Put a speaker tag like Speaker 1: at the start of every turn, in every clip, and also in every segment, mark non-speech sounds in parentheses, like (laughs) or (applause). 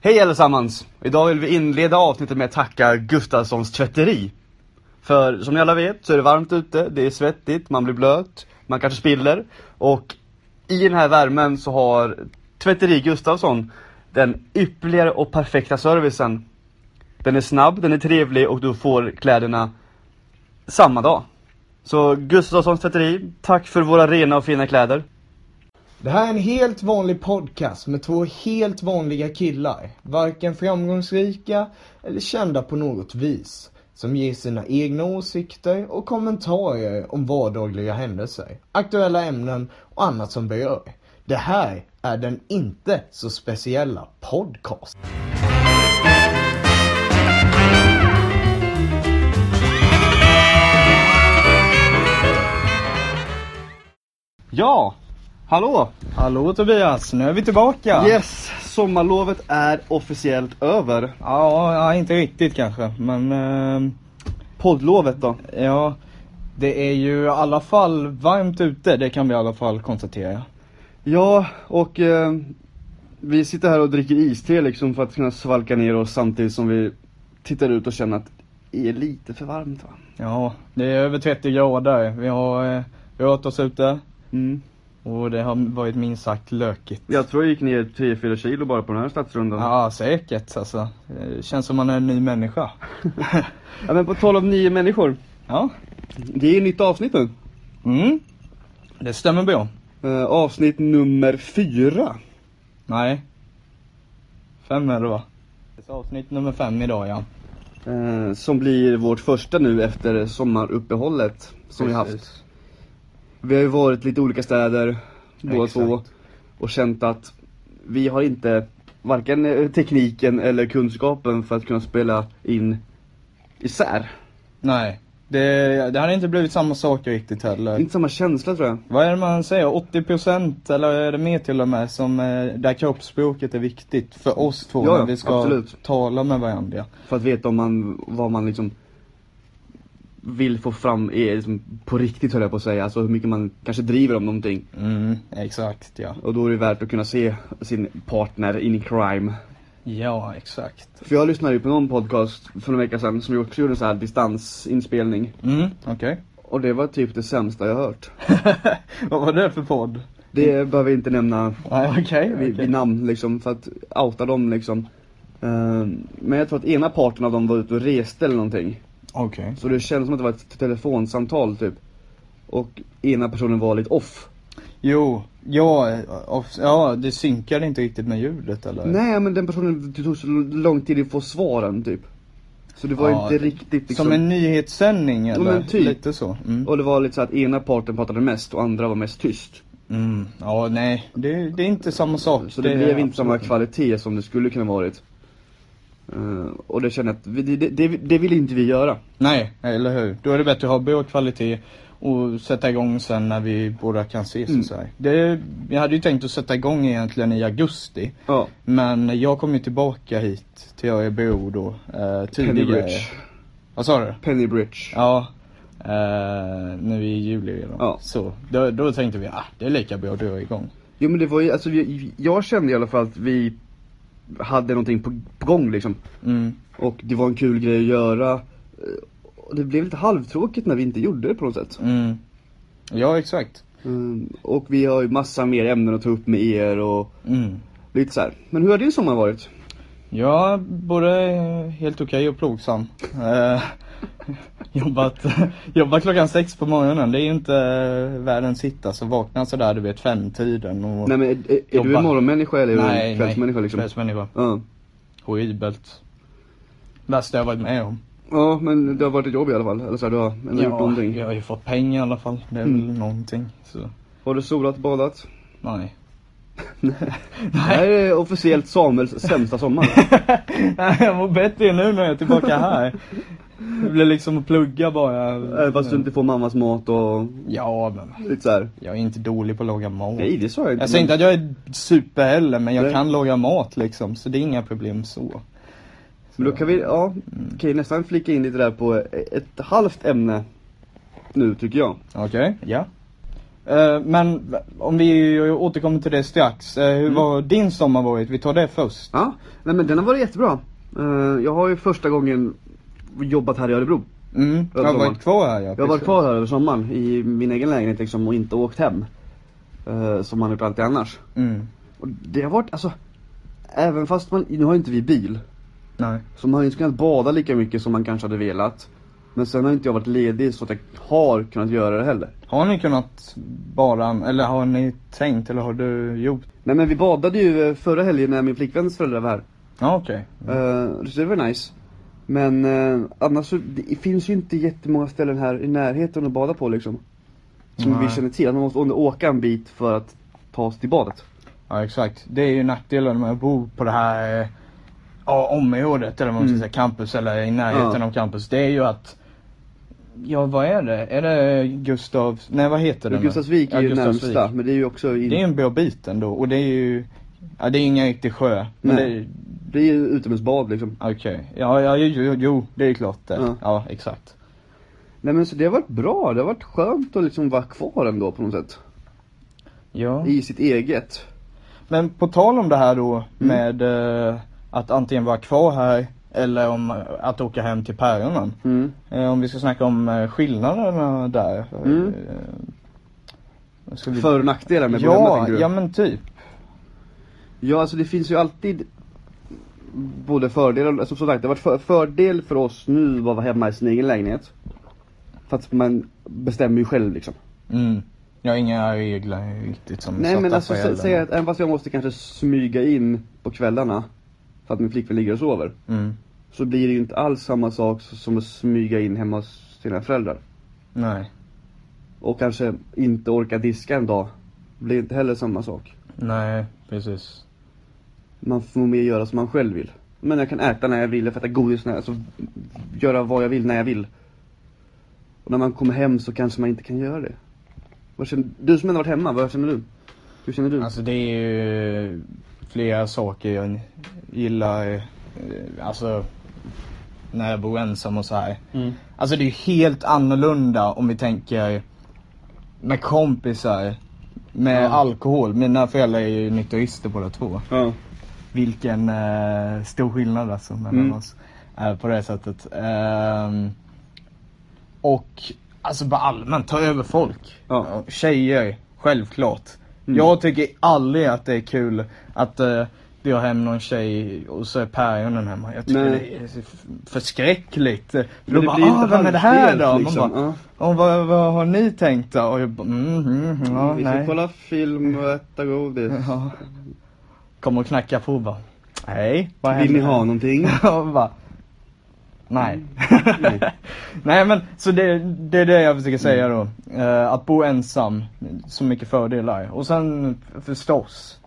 Speaker 1: Hej allesammans! Idag vill vi inleda avsnittet med att tacka Gustafssons tvätteri. För som ni alla vet så är det varmt ute, det är svettigt, man blir blöt, man kanske spiller. Och i den här värmen så har tvätteri Gustafsson den ypperligare och perfekta servicen. Den är snabb, den är trevlig och du får kläderna samma dag. Så Gustafssons tvätteri, tack för våra rena och fina kläder.
Speaker 2: Det här är en helt vanlig podcast med två helt vanliga killar, varken framgångsrika eller kända på något vis, som ger sina egna åsikter och kommentarer om vardagliga händelser, aktuella ämnen och annat som berör. Det här är den inte så speciella podcast.
Speaker 1: Ja! Hallå!
Speaker 2: Hallå Tobias, nu är vi tillbaka!
Speaker 1: Yes, sommarlovet är officiellt över.
Speaker 2: Ja, ja, inte riktigt kanske, men eh,
Speaker 1: Poddlovet då?
Speaker 2: ja, det är ju i alla fall varmt ute, det kan vi i alla fall konstatera.
Speaker 1: Ja, och eh, vi sitter här och dricker iste liksom för att kunna svalka ner oss samtidigt som vi tittar ut och känner att det är lite för varmt va?
Speaker 2: Ja, det är över 30 grader. Vi har eh, rört oss ute
Speaker 1: Mm.
Speaker 2: och det har varit minst sagt lökigt.
Speaker 1: Jag tror jag gick ner 3-4 kilo bara på den här stadsrundan. Ja.
Speaker 2: Ja, säkert alltså. Det känns som man är en ny människa.
Speaker 1: men på tal om nio människor.
Speaker 2: ja.
Speaker 1: Det är ju nytt avsnitt nu.
Speaker 2: Mm. Det stämmer bra.
Speaker 1: Eh, avsnitt nummer fyra.
Speaker 2: Nej. Fem är det va? Det är avsnitt nummer fem idag ja.
Speaker 1: Eh, som blir vårt första nu efter sommaruppehållet som vi haft.
Speaker 2: Precis.
Speaker 1: Vi har ju varit lite olika städer båda
Speaker 2: Exakt.
Speaker 1: två och känt att vi har inte varken eh, tekniken eller kunskapen för att kunna spela in isär.
Speaker 2: Nej. Det, det hade inte blivit samma sak riktigt
Speaker 1: Det
Speaker 2: heller.
Speaker 1: är inte samma känsla tror jag.
Speaker 2: Vad är det man säger? 80% eller är det mer till och med som eh, där kroppsspråket är viktigt för oss två
Speaker 1: Ja, ja,
Speaker 2: när vi ska
Speaker 1: absolut.
Speaker 2: tala med varandra.
Speaker 1: För att veta om man, vad man liksom vill få fram är liksom på riktigt höll jag på att säga. Alltså hur mycket man kanske driver om någonting.
Speaker 2: Mm, exakt ja.
Speaker 1: Och då är det värt att kunna se sin partner in crime.
Speaker 2: Ja, exakt.
Speaker 1: För jag lyssnade ju på någon podcast för några veckor sedan som också gjorde en sån här distansinspelning.
Speaker 2: Mm, okej.
Speaker 1: (laughs) Och det var typ det sämsta jag hört.
Speaker 2: Vad var det för podd?
Speaker 1: Det behöver vi inte nämna (laughs)
Speaker 2: Nej, okej.
Speaker 1: vid,
Speaker 2: okej.
Speaker 1: vid namn liksom för att outa dem liksom. Ehm, men jag tror att ena parten av dem var ute och reste eller någonting.
Speaker 2: Okej.
Speaker 1: Så det kändes som att det var ett telefonsamtal typ. Och ena personen var lite off.
Speaker 2: Jo, ja, of- ja, det synkade inte riktigt med ljudet eller?
Speaker 1: Nej men den personen det tog så lång tid att få svaren typ. Så det var
Speaker 2: Ja,
Speaker 1: inte riktigt liksom.
Speaker 2: Som en nyhetssändning eller?
Speaker 1: men typ.
Speaker 2: Lite så. Mm.
Speaker 1: Och det var lite så att ena parten pratade mest och andra var mest tyst.
Speaker 2: Mm. Ja, nej. Det, det är inte samma sak.
Speaker 1: Så det, blev inte samma
Speaker 2: absolut
Speaker 1: kvalitet som det skulle kunna varit. Ehm, och det kände jag att, vi, det, det, det vill inte vi göra.
Speaker 2: Nej, eller hur. Då är det bättre att ha bra kvalitet och sätta igång sen när vi båda kan ses
Speaker 1: Mm.
Speaker 2: och så här. Det, jag hade ju tänkt att sätta igång egentligen i augusti.
Speaker 1: Ja.
Speaker 2: Men jag kom ju tillbaka hit till Örebro då eh, tidigare.
Speaker 1: Pennybridge.
Speaker 2: Vad sa du?
Speaker 1: Pennybridge.
Speaker 2: Ja. Eh, nu i juli redan.
Speaker 1: Ja.
Speaker 2: Så då, då tänkte vi, ah, det är lika bra att dra igång.
Speaker 1: Jo men det var ju, alltså vi, jag kände i alla fall att vi hade någonting på, på gång liksom.
Speaker 2: Mm.
Speaker 1: Och det var en kul grej att göra. Eh, Och det blev lite halvtråkigt när vi inte gjorde det på något sätt.
Speaker 2: Mm. Ja, exakt.
Speaker 1: Mm, och vi har ju massa mer ämnen att ta upp med er och
Speaker 2: Mm.
Speaker 1: lite så här. Men hur har din sommar varit?
Speaker 2: Ja, både eh, helt okej och plågsam. Eh, (laughs) jobbat, (laughs) jobbat klockan sex på morgonen, det är ju inte eh, världens hit alltså. Vakna sådär du vet femtiden och...
Speaker 1: Nej men är, är, är du
Speaker 2: Jobba.
Speaker 1: en morgonmänniska eller är du
Speaker 2: nej,
Speaker 1: en kvällsmänniska
Speaker 2: nej,
Speaker 1: liksom?
Speaker 2: kvällsmänniska.
Speaker 1: Ja.
Speaker 2: Horribelt. Värsta jag varit med om.
Speaker 1: ja men det har varit ett jobb i alla fall, eller så här, du har ändå gjort någonting. Mm.
Speaker 2: jag har ju fått pengar i alla fall. Det är väl någonting. Så,
Speaker 1: Har du solat, badat? (laughs)
Speaker 2: nej.
Speaker 1: Det här är officiellt Samuels sämsta
Speaker 2: (laughs)
Speaker 1: sommar.
Speaker 2: nej, jag mår bättre nu när jag är tillbaka här. Det blir liksom att plugga bara.
Speaker 1: Även Äh, fast du inte får mammas mat och
Speaker 2: Ja, men
Speaker 1: lite så här.
Speaker 2: jag är inte dålig på att laga mat.
Speaker 1: Nej det sa jag inte.
Speaker 2: Jag säger inte att jag är super heller, men jag
Speaker 1: Nej.
Speaker 2: kan laga mat liksom, så det är inga problem så.
Speaker 1: Men då kan vi, ja, kan ju nästan flika in lite där på ett halvt ämne nu tycker jag.
Speaker 2: Okej, ja. Eh, Men om vi återkommer till det strax. eh,
Speaker 1: Mm.
Speaker 2: Hur var din sommar varit? Vi tar det först.
Speaker 1: Ja, nej men den har varit jättebra. Eh, Jag har ju första gången jobbat här i Örebro.
Speaker 2: Mm. Jag har varit kvar här ja.
Speaker 1: Jag har varit
Speaker 2: precis.
Speaker 1: kvar här över sommaren i min egen lägenhet liksom och inte åkt hem. eh, Som man gjort alltid annars.
Speaker 2: Mm.
Speaker 1: Och det har varit, alltså. Även fast man, nu har ju inte vi bil.
Speaker 2: Nej.
Speaker 1: Så man har ju inte kunnat bada lika mycket som man kanske hade velat. Men sen har inte jag varit ledig så att jag har kunnat göra det heller.
Speaker 2: Har ni kunnat bara, eller har ni tänkt eller har du gjort?
Speaker 1: Nej men vi badade ju eh, förra helgen när min flickväns föräldrar var här.
Speaker 2: Ja okej.
Speaker 1: Eh, så det var nice. Men eh, annars så det finns ju inte jättemånga ställen här i närheten att bada på liksom. Som
Speaker 2: Nej.
Speaker 1: vi känner till. Att Man måste åka en bit för att ta sig till badet.
Speaker 2: Ja exakt. Det är ju nackdelen med att bo på det här eh, ja, området eller vad man ska säga, campus eller i närheten
Speaker 1: Mm. Ja.
Speaker 2: av campus. Det är ju att Ja vad är det? Är det Gustav... Nej vad heter det nu?
Speaker 1: Gustavsvik är ju
Speaker 2: Ja, Gustavsvik.
Speaker 1: närmsta. Men det är ju också in...
Speaker 2: Det är ju en bra bit ändå och det är ju... Ja det är ingen riktig sjö. Men
Speaker 1: Nej.
Speaker 2: det är-
Speaker 1: det är ju utomhusbad liksom.
Speaker 2: Okej. Ja, ja jo, jo, jo det är klart det.
Speaker 1: Ja.
Speaker 2: Ja, exakt.
Speaker 1: Nej men så det har varit bra. Det har varit skönt att liksom vara kvar ändå på något sätt.
Speaker 2: Ja.
Speaker 1: I sitt eget.
Speaker 2: Men på tal om det här
Speaker 1: Mm.
Speaker 2: då med eh, att antingen vara kvar här eller om eh, att åka hem till päronen.
Speaker 1: Mm.
Speaker 2: Eh, om vi ska snacka om eh, skillnaderna där.
Speaker 1: Mm.
Speaker 2: Eh, ska vi...
Speaker 1: För och nackdelar med båda
Speaker 2: ja,
Speaker 1: tänker du?
Speaker 2: ja men typ.
Speaker 1: Ja, alltså det finns ju alltid både fördelar och, alltså, som sagt, det har varit för, fördel för oss nu att vara hemma i sin egen lägenhet. För att man bestämmer ju själv liksom.
Speaker 2: Mm. Jag har inga regler riktigt som
Speaker 1: Nej
Speaker 2: satta
Speaker 1: men
Speaker 2: på
Speaker 1: alltså sä,
Speaker 2: elden.
Speaker 1: säg att även fast jag måste kanske smyga in på kvällarna för att min flickvän ligger och sover.
Speaker 2: Mm.
Speaker 1: Så blir det ju inte alls samma sak s- som att smyga in hemma hos sina föräldrar.
Speaker 2: Nej.
Speaker 1: Och kanske inte orka diska en dag. Blir inte heller samma sak.
Speaker 2: Nej, precis.
Speaker 1: Man får mer göra som man själv vill. Men jag kan äta när jag vill, jag får äta godis när jag alltså, göra vad jag vill när jag vill. Och när man kommer hem så kanske man inte kan göra det. Vad känner, du som ändå varit hemma, vad känner du? Hur känner du?
Speaker 2: Alltså det är ju eh, flera saker jag gillar, eh, alltså när jag bor ensam och så här.
Speaker 1: Mm.
Speaker 2: Alltså det är ju helt annorlunda om vi tänker med kompisar, med
Speaker 1: Ja.
Speaker 2: alkohol. Mina föräldrar är ju nykterister båda två.
Speaker 1: Ja.
Speaker 2: Vilken eh, stor skillnad alltså mellan
Speaker 1: Mm.
Speaker 2: oss. Eh, på det sättet. Ehm, och alltså bara allmänt, ta över folk.
Speaker 1: Ja. Mm.
Speaker 2: Ja, Tjejer, självklart. Jag tycker aldrig att det är kul att eh, jag har hem någon tjej och så är päronen hemma. Jag tycker
Speaker 1: Nej.
Speaker 2: det är f- förskräckligt. För
Speaker 1: Men
Speaker 2: då
Speaker 1: det
Speaker 2: bara,
Speaker 1: blir inte
Speaker 2: ah, vem är det här
Speaker 1: halvdelt,
Speaker 2: då? Man
Speaker 1: liksom.
Speaker 2: bara,
Speaker 1: Ja.
Speaker 2: "Åh, vad, vad har ni tänkt då? Och jag bara, mm, mm, ja,
Speaker 1: Vi
Speaker 2: nej.
Speaker 1: ska kolla film och äta godis.
Speaker 2: Ja. Kommer och knackar på och bara, hej, (laughs) vad
Speaker 1: Vill ni
Speaker 2: händer här?"
Speaker 1: ha
Speaker 2: (laughs)
Speaker 1: någonting?
Speaker 2: Och bara, nej.
Speaker 1: Nej.
Speaker 2: (laughs) nej men så det, det är det jag försöker säga då. Eh, att bo ensam, så mycket fördelar. Och sen förstås,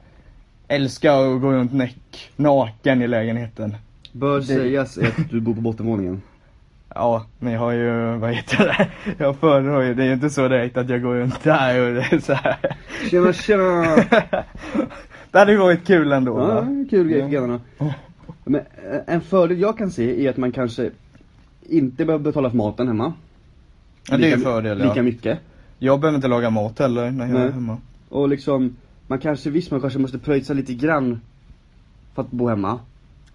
Speaker 2: älska att gå runt näck, naken i lägenheten.
Speaker 1: Bör sägas är att du bor på bottenvåningen.
Speaker 2: Ja, men jag har ju, vad heter det, (laughs) jag föredrar ju, det är ju inte så direkt att jag går runt där och det är så här.
Speaker 1: Tjena tjena!
Speaker 2: (laughs) det hade ju varit kul ändå.
Speaker 1: Ja,
Speaker 2: va?
Speaker 1: en kul grej för grannarna. Men eh, en fördel jag kan se är att man kanske inte behöver betala för maten hemma.
Speaker 2: Ja, det är ju en
Speaker 1: Lika-
Speaker 2: fördel
Speaker 1: Lika
Speaker 2: ja.
Speaker 1: mycket.
Speaker 2: Jag behöver inte laga mat heller när jag
Speaker 1: Nej.
Speaker 2: är hemma.
Speaker 1: Och liksom, man kanske, visst man kanske måste pröjsa lite grann för att bo hemma.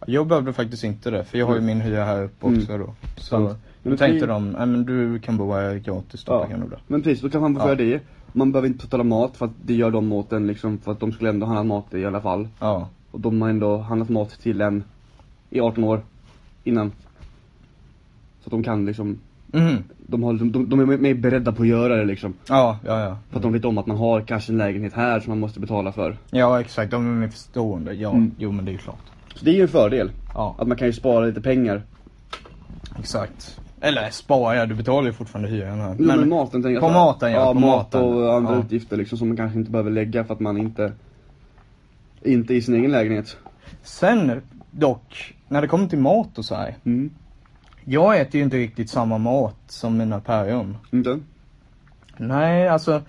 Speaker 2: Jag behövde faktiskt inte det, för jag har ju min hyra här uppe också då. Så
Speaker 1: Sant.
Speaker 2: då
Speaker 1: Mm. Men
Speaker 2: tänkte
Speaker 1: vi-
Speaker 2: de, nej men du kan bo här gratis då,
Speaker 1: Ja.
Speaker 2: pengarna då.
Speaker 1: Men precis, då kan man få
Speaker 2: Ja.
Speaker 1: göra det. Man behöver inte betala mat för att det gör de åt en liksom, för att de skulle ändå handla mat i alla fall.
Speaker 2: Ja.
Speaker 1: Och de har ändå handlat mat till en i 18 år innan. Så att de kan liksom,
Speaker 2: Mhm.
Speaker 1: de, har, de, de är mer beredda på att göra det liksom.
Speaker 2: Ja, ja, ja.
Speaker 1: För att de vet om att man har kanske en lägenhet här som man måste betala för.
Speaker 2: Ja exakt, de är mer förstående. Ja,
Speaker 1: Mm.
Speaker 2: jo men det är ju klart.
Speaker 1: Så det är ju en fördel.
Speaker 2: Ja,
Speaker 1: Att man kan ju spara lite pengar.
Speaker 2: exakt. Eller spara, ja, du betalar ju fortfarande hyran här.
Speaker 1: Jo, men, maten tänker jag.
Speaker 2: på
Speaker 1: så-
Speaker 2: maten, ja,
Speaker 1: ja
Speaker 2: på
Speaker 1: mat
Speaker 2: maten.
Speaker 1: och andra
Speaker 2: Ja.
Speaker 1: utgifter liksom som man kanske inte behöver lägga för att man inte inte i sin egen lägenhet.
Speaker 2: Sen dock, när det kommer till mat och så här.
Speaker 1: Mm.
Speaker 2: Jag äter ju inte riktigt samma mat som mina päron.
Speaker 1: Inte?
Speaker 2: Nej, alltså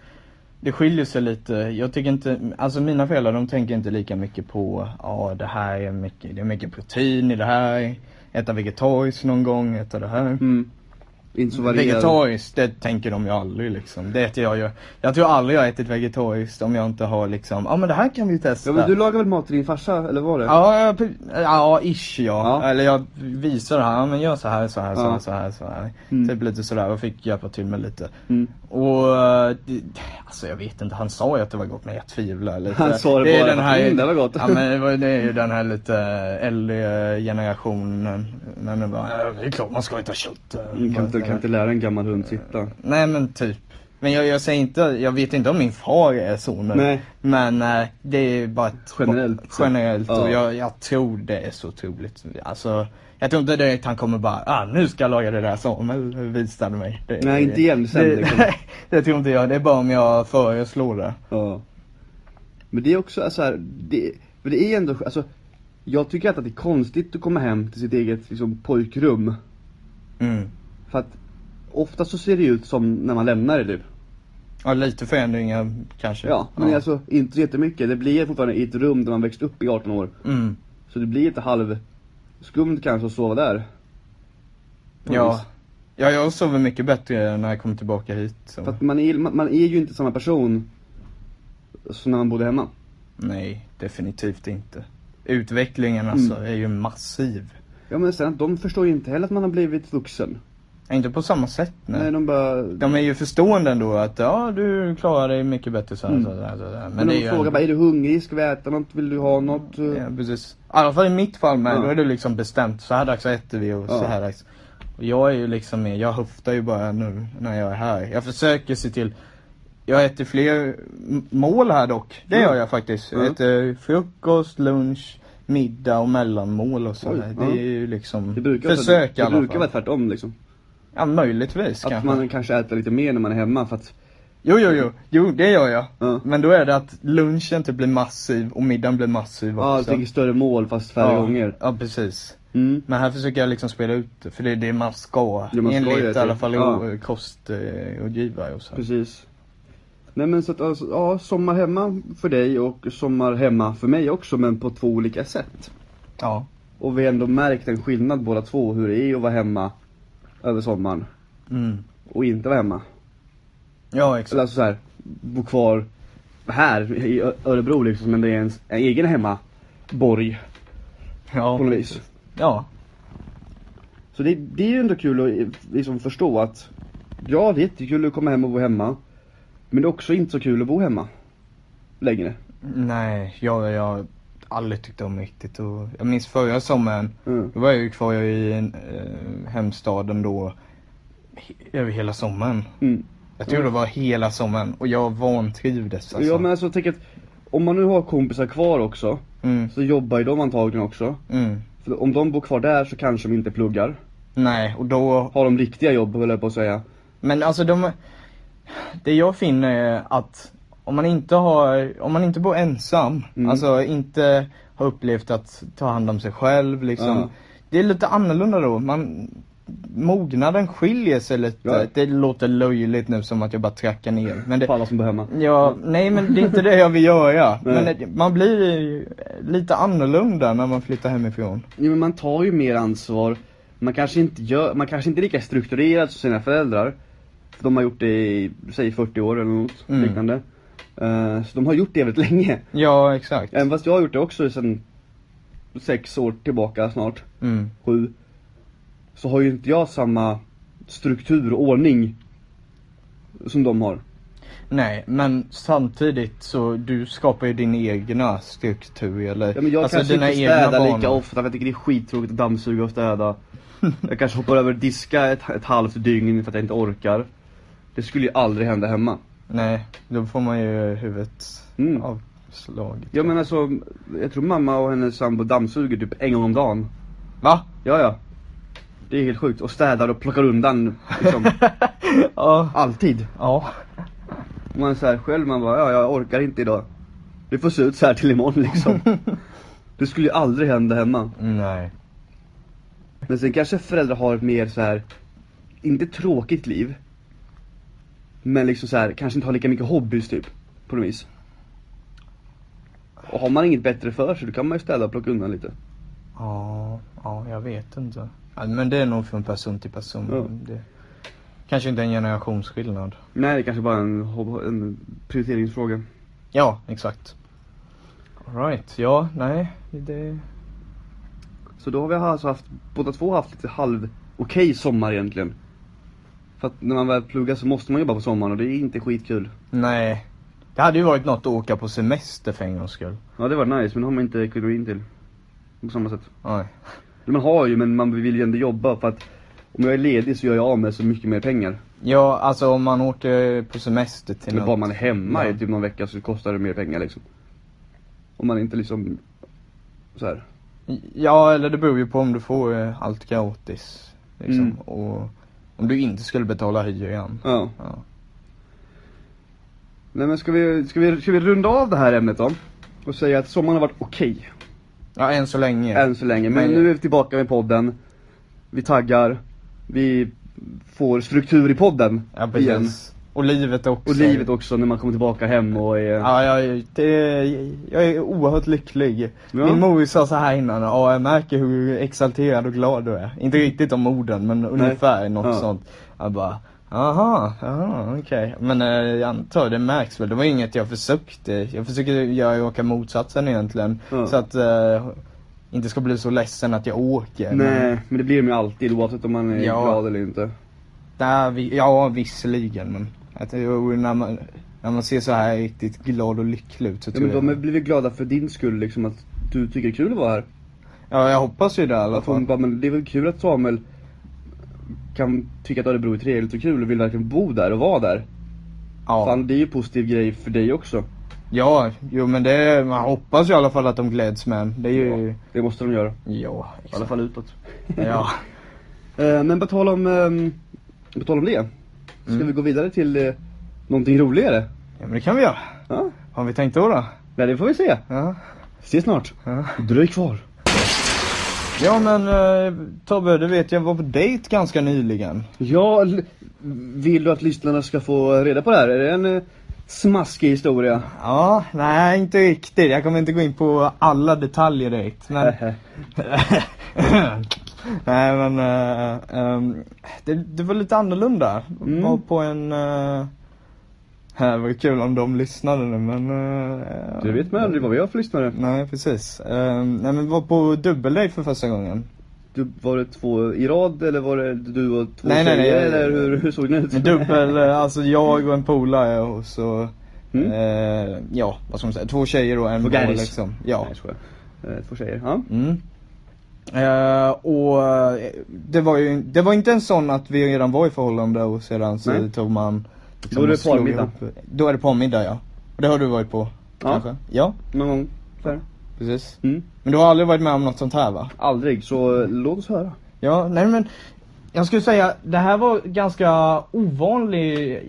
Speaker 2: det skiljer sig lite. Jag tycker inte, alltså mina föräldrar de tänker inte lika mycket på, ja det här är mycket, det är mycket protein i det här, äta vegetariskt någon gång, äta det här.
Speaker 1: Mm. Inte så varierad.
Speaker 2: Vegetariskt, det tänker de ju aldrig liksom. Det äter jag ju. Jag tror aldrig jag har ätit vegetariskt om jag inte har liksom, ja ah, men det här kan vi ju testa.
Speaker 1: Ja men du lagar väl mat till din farsa, eller var det?
Speaker 2: Ja, ja, pre- ja, ish ja.
Speaker 1: Ja.
Speaker 2: Eller jag visar det här, ja, men gör så här, så här, så
Speaker 1: Ja.
Speaker 2: här, så här, så här.
Speaker 1: Mm.
Speaker 2: Typ lite sådär och fick hjälpa till med lite.
Speaker 1: Mm.
Speaker 2: Och, eh, det, alltså jag vet inte, han sa ju att det var gott men jag tvivlar lite.
Speaker 1: Han sa det bara för att, "Mm, det var gott."
Speaker 2: Ja men det, var, det är ju den här lite äldre generationen. Men det, bara, "Ja, det är klart man ska inte ha kött. eh."
Speaker 1: Du Mm, kan, inte, kan inte lära en gammal hund sitta.
Speaker 2: Nej men typ. Men jag, jag säger inte, jag vet inte om min far är så men,
Speaker 1: Nej.
Speaker 2: men eh, det är bara ett,
Speaker 1: Generellt.
Speaker 2: generellt
Speaker 1: Ja.
Speaker 2: och jag, jag tror det är så otroligt. Alltså, jag tror inte direkt han kommer bara, ah, nu ska jag laga det där Samuel visade mig. Det,
Speaker 1: Nej, inte igen sen,
Speaker 2: det, (laughs)
Speaker 1: liksom.
Speaker 2: det tror inte jag, det är bara om jag föreslår det.
Speaker 1: Ja. Men det är också så här, det, för det är ändå, alltså jag tycker alltid att det är konstigt att komma hem till sitt eget liksom, pojkrum.
Speaker 2: Mm.
Speaker 1: För att ofta så ser det ju ut som när man lämnar det typ.
Speaker 2: Ja, lite förändringar kanske.
Speaker 1: Ja, men alltså inte så jättemycket. Det blir fortfarande i ett rum där man växt upp i 18 år.
Speaker 2: Mm.
Speaker 1: Så det blir lite halvskumt kanske att sova där. På något
Speaker 2: Ja.
Speaker 1: vis.
Speaker 2: ja, jag sover mycket bättre när jag kommer tillbaka hit. Så.
Speaker 1: För att man är, man, man är ju inte samma person som när man bodde hemma.
Speaker 2: Nej, definitivt inte. Utvecklingen alltså
Speaker 1: Mm.
Speaker 2: är ju massiv.
Speaker 1: Ja men sen att de förstår ju inte heller att man har blivit vuxen.
Speaker 2: Inte på samma sätt nej.
Speaker 1: Nej, de bara...
Speaker 2: De är ju förstående ändå att ja, du klarar dig mycket bättre så här, så här, så här. Men,
Speaker 1: Mm. men
Speaker 2: det är
Speaker 1: de
Speaker 2: ju
Speaker 1: frågar
Speaker 2: ändå-
Speaker 1: bara, är du hungrig? Ska vi äta något? Vill du ha något?
Speaker 2: Ja, precis. I alla fall i mitt fall med,
Speaker 1: Mm. Ja.
Speaker 2: då är det liksom bestämt. Så här dags äter vi och så
Speaker 1: Ja.
Speaker 2: här dags. Och jag är ju liksom mer, jag höftar ju bara nu när jag är här. Jag försöker se till, jag äter fler m- mål här dock. Det
Speaker 1: Mm.
Speaker 2: gör jag faktiskt. Jag
Speaker 1: Mm.
Speaker 2: äter frukost, lunch, middag och mellanmål och så
Speaker 1: Oj,
Speaker 2: här.
Speaker 1: ja.
Speaker 2: Det är ju liksom,
Speaker 1: Det brukar, vara så-
Speaker 2: försök i
Speaker 1: det
Speaker 2: alla
Speaker 1: brukar
Speaker 2: fall.
Speaker 1: vara tvärtom liksom.
Speaker 2: Ja, möjligtvis
Speaker 1: Att
Speaker 2: kanske.
Speaker 1: man kanske äter lite mer när man är hemma för att...
Speaker 2: Jo, jo, jo. Jo, det gör jag.
Speaker 1: Ja.
Speaker 2: Men då är det att lunchen typ blir massiv och middagen blir massiv
Speaker 1: Ja, jag
Speaker 2: också.
Speaker 1: tänker större mål fast färre gånger.
Speaker 2: Ja, precis.
Speaker 1: Mm.
Speaker 2: Men här försöker jag liksom spela ut det, för det är det man ska.
Speaker 1: Det man ska
Speaker 2: enligt
Speaker 1: göra,
Speaker 2: i alla
Speaker 1: typ.
Speaker 2: fall
Speaker 1: Ja.
Speaker 2: ja. kostrådgivare eh, och så.
Speaker 1: Precis. Nej men så att alltså, ja, sommar hemma för dig och sommar hemma för mig också men på två olika sätt.
Speaker 2: Ja.
Speaker 1: Och vi har ändå märkt en skillnad båda två hur det är att vara hemma över sommaren
Speaker 2: Mm.
Speaker 1: och inte vara hemma.
Speaker 2: Ja,
Speaker 1: Eller
Speaker 2: exakt.
Speaker 1: alltså så här, bo kvar här i Ö- Örebro liksom men det är ens en egen hemmaborg
Speaker 2: Ja.
Speaker 1: på något vis.
Speaker 2: Ja.
Speaker 1: Så det, det är ju ändå kul att eh, liksom förstå att ja det är jättekul att komma hem och bo hemma. Men det är också inte så kul att bo hemma. Längre.
Speaker 2: Nej, jag, jag aldrig tyckte om riktigt och jag minns förra sommaren,
Speaker 1: Mm.
Speaker 2: då var jag ju kvar i eh, hemstaden då he- över hela sommaren.
Speaker 1: Mm.
Speaker 2: Jag tror det var hela sommaren och jag vantrivdes alltså.
Speaker 1: Ja men alltså tänk att om man nu har kompisar kvar också
Speaker 2: mm.
Speaker 1: så jobbar ju de antagligen också.
Speaker 2: Mm.
Speaker 1: För om de bor kvar där så kanske de inte pluggar.
Speaker 2: Nej, och då...
Speaker 1: Har de riktiga jobb höll jag på att säga.
Speaker 2: Men alltså de... Det jag finner är att om man inte har, om man inte bor ensam,
Speaker 1: Mm.
Speaker 2: alltså inte har upplevt att ta hand om sig själv liksom.
Speaker 1: Ja.
Speaker 2: Det är lite annorlunda då. Man, mognaden skiljer sig lite.
Speaker 1: Ja.
Speaker 2: Det låter löjligt nu som att jag bara trackar ner. Men det,
Speaker 1: På alla som bor hemma.
Speaker 2: Ja, nej men det är inte det jag vill göra.
Speaker 1: (laughs)
Speaker 2: Men
Speaker 1: Nej.
Speaker 2: det- man blir ju lite annorlunda när man flyttar hemifrån.
Speaker 1: Jo men man tar ju mer ansvar. Man kanske inte, gör, man kanske inte är lika strukturerad som sina föräldrar. För de har gjort det i, säg 40 år eller något
Speaker 2: Mm.
Speaker 1: liknande. Eh, så de har gjort det väldigt länge.
Speaker 2: Ja, exakt.
Speaker 1: Även fast jag har gjort det också sedan sex år tillbaka snart.
Speaker 2: Mm.
Speaker 1: sju så har ju inte jag samma struktur och ordning som de har.
Speaker 2: Nej, men samtidigt så du skapar ju din egna struktur eller? Alltså,
Speaker 1: Ja, men jag kanske inte städar
Speaker 2: banor.
Speaker 1: lika ofta för jag tycker det är skittråkigt att dammsuga och städa. Jag kanske hoppar över att diska ett, ett halvt dygn för att jag inte orkar. Det skulle ju aldrig hända hemma.
Speaker 2: Nej, då får man ju huvudet
Speaker 1: Mm.
Speaker 2: avslaget.
Speaker 1: Ja men alltså, jag tror mamma och hennes sambo dammsuger typ en gång om dagen.
Speaker 2: Va?
Speaker 1: Ja ja. Det är helt sjukt. Och städar och plockar undan liksom.
Speaker 2: Ja.
Speaker 1: Alltid.
Speaker 2: Ja.
Speaker 1: Och man är så här själv, man bara ja jag orkar inte idag. Det får se ut så här till imorgon liksom. Det skulle ju aldrig hända hemma.
Speaker 2: Nej.
Speaker 1: Men sen kanske föräldrar har ett mer så här inte tråkigt liv. Men liksom så här kanske inte har lika mycket hobbys typ. På något vis. Och har man inget bättre för sig då kan man ju städa och plocka undan lite.
Speaker 2: Ja, ja jag vet inte. Ja, men det är nog från person till person.
Speaker 1: Ja.
Speaker 2: Det, Kanske inte en generationsskillnad.
Speaker 1: Nej, det kanske bara är en, hob- en prioriteringsfråga.
Speaker 2: Ja, exakt. Alright, ja, nej. Det...
Speaker 1: Så då har vi alltså haft, båda två haft lite halv okej sommar egentligen. För att när man väl pluggar så måste man jobba på sommaren och det är inte skitkul.
Speaker 2: Nej. Det hade ju varit något att åka på semester för en gångs skull.
Speaker 1: Ja det var nice men det har man inte ekonomin till. På samma sätt.
Speaker 2: Nej.
Speaker 1: Eller man har ju men man vill ju ändå jobba för att om jag är ledig så gör jag av med så mycket mer pengar.
Speaker 2: Ja, alltså om man åker på semester till
Speaker 1: Men
Speaker 2: något.
Speaker 1: var man hemma
Speaker 2: Ja.
Speaker 1: i typ någon vecka så kostar det mer pengar liksom. Om man inte liksom så här.
Speaker 2: Ja, eller det beror ju på om du får eh, allt gratis. Liksom.
Speaker 1: Mm.
Speaker 2: Och om du inte skulle betala hyran.
Speaker 1: Ja.
Speaker 2: Ja.
Speaker 1: Nej men ska vi, ska vi, ska vi runda av det här ämnet då? Och säga att sommaren har varit okej.
Speaker 2: Ja, än så länge.
Speaker 1: Än så länge, men nu är vi tillbaka med podden. Vi taggar. Vi får struktur i podden.
Speaker 2: Ja, precis.
Speaker 1: igen.
Speaker 2: Och livet också.
Speaker 1: Och livet också när man kommer tillbaka hem och är...
Speaker 2: Ja, jag, det, jag är oerhört lycklig. Min mor sa så här innan, ja jag märker hur exalterad och glad du är. Inte riktigt om orden men ungefär något
Speaker 1: Mm. Ja.
Speaker 2: sånt. Jag bara, aha, aha okej. Men eh, jag antar det märks väl. Det var inget jag försökte. Jag försöker göra raka motsatsen egentligen.
Speaker 1: Ja.
Speaker 2: Så att eh, inte ska bli så ledsen att jag åker. Men,
Speaker 1: Nej, men det blir de ju alltid oavsett om man är
Speaker 2: Ja.
Speaker 1: glad eller inte.
Speaker 2: där vi, ja visserligen men. Att, det- och när, man, när man ser så här riktigt glad och lycklig ut så
Speaker 1: Ja,
Speaker 2: tror
Speaker 1: men de har
Speaker 2: jag.
Speaker 1: blivit glada för din skull liksom att du tycker det är kul att vara här.
Speaker 2: Ja jag hoppas ju det i alla
Speaker 1: Att hon
Speaker 2: fall.
Speaker 1: bara, men det är väl kul att Samuel kan tycka att Örebro är trevligt och kul och vill verkligen bo där och vara där.
Speaker 2: Ja.
Speaker 1: Fan, det är ju en positiv grej för dig också.
Speaker 2: Ja, jo men det, man hoppas ju i alla fall att de gläds med Det är ju,
Speaker 1: Det måste de göra. I
Speaker 2: ja,
Speaker 1: alla fall utåt.
Speaker 2: ja.
Speaker 1: Eh, men på tal om, ehm, på tal om det. Ska
Speaker 2: Mm.
Speaker 1: vi gå vidare till eh, någonting roligare?
Speaker 2: ja men det kan vi göra.
Speaker 1: Ja.
Speaker 2: Har vi tänkt då då?
Speaker 1: Nej, det får vi se.
Speaker 2: Ja.
Speaker 1: Se snart.
Speaker 2: Ja.
Speaker 1: Dröj kvar.
Speaker 2: Ja men eh, Tobbe, du vet jag var på dejt ganska nyligen.
Speaker 1: Ja, l- vill du att lyssnarna ska få reda på det här? Är det en eh, smaskig historia?
Speaker 2: Ja, nej inte riktigt. Jag kommer inte gå in på alla detaljer
Speaker 1: (laughs)
Speaker 2: direkt. Men...
Speaker 1: Eh,
Speaker 2: nej men, eh, ehm, det, det var lite annorlunda.
Speaker 1: Mm.
Speaker 2: Var på en... Uh, det var kul om de lyssnade nu men... eh,
Speaker 1: Du vet med aldrig vad vi har för lyssnare.
Speaker 2: Nej precis. Ehm, nej men vi var på dubbeldejt för första gången.
Speaker 1: Du, var det två i rad eller var det du och två
Speaker 2: Nej, nej,
Speaker 1: tjejer?
Speaker 2: nej, nej, nej.
Speaker 1: eller hur, hur såg ni ut?
Speaker 2: Men Dubbel, eh, alltså jag och en polare och så,
Speaker 1: Mm.
Speaker 2: eh, ja vad ska man säga, två tjejer och en
Speaker 1: Två
Speaker 2: boy
Speaker 1: guys.
Speaker 2: liksom. Ja.
Speaker 1: Nej, jag skojar. Eh, Två tjejer, ja.
Speaker 2: Mm. Eh, och eh, det var ju, det var inte en sån att vi redan var i förhållande och sedan så
Speaker 1: Nej.
Speaker 2: tog man
Speaker 1: Då är det
Speaker 2: och slog
Speaker 1: parmiddag.
Speaker 2: ihop. Då är det parmiddag ja. Och det har du varit på?
Speaker 1: Ja.
Speaker 2: Kanske? Ja,
Speaker 1: Någon gång så här.
Speaker 2: precis.
Speaker 1: Mm.
Speaker 2: Men du har aldrig varit med om något sånt här va?
Speaker 1: Aldrig, så eh, låt oss höra.
Speaker 2: Ja, nej men jag skulle säga det här var ganska ovanlig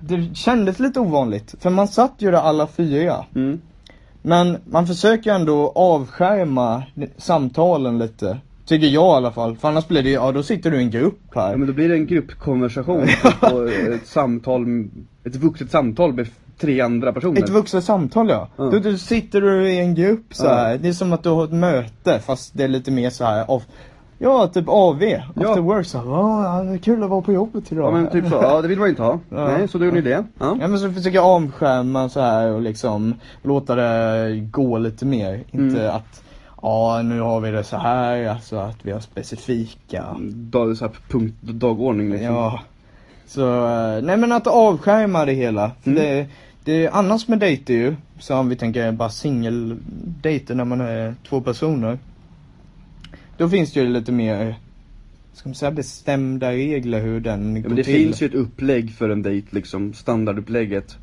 Speaker 2: Det kändes lite ovanligt för man satt ju där alla fyra.
Speaker 1: Mm.
Speaker 2: Men man försöker ju ändå avskärma samtalen lite. Tycker jag i alla fall. För annars blir det ju, ja då sitter du i en grupp
Speaker 1: Ja,
Speaker 2: här.
Speaker 1: men då blir det en
Speaker 2: (laughs)
Speaker 1: gruppkonversation typ, och ett samtal, ett vuxet samtal med tre andra personer.
Speaker 2: Ett vuxet samtal ja.
Speaker 1: Ja.
Speaker 2: Då, då sitter du i en grupp så
Speaker 1: Ja.
Speaker 2: här. Det är som att du har ett möte fast det är lite mer så här av, ja typ AV, after work så här, "Ja, det är kul att vara på jobbet idag.
Speaker 1: Ja men
Speaker 2: (laughs)
Speaker 1: typ så, ja det vill man inte ha.
Speaker 2: Ja.
Speaker 1: Nej, så då gjorde ni det. Ja.
Speaker 2: Ja men så försöker jag avskärma så här och liksom låta det gå lite mer. Inte
Speaker 1: Mm.
Speaker 2: att ja nu har vi det så här, alltså att vi har specifika.
Speaker 1: Dag, så här, punkt, dagordning liksom.
Speaker 2: Ja. Så eh, nej men att avskärma det hela. För
Speaker 1: Mm.
Speaker 2: det, det är annars med dejter ju, så om vi tänker bara singeldejter när man är två personer. Då finns det ju lite mer, ska man säga bestämda regler hur den
Speaker 1: Ja,
Speaker 2: går
Speaker 1: men det
Speaker 2: till.
Speaker 1: finns ju ett upplägg för en dejt liksom, standardupplägget.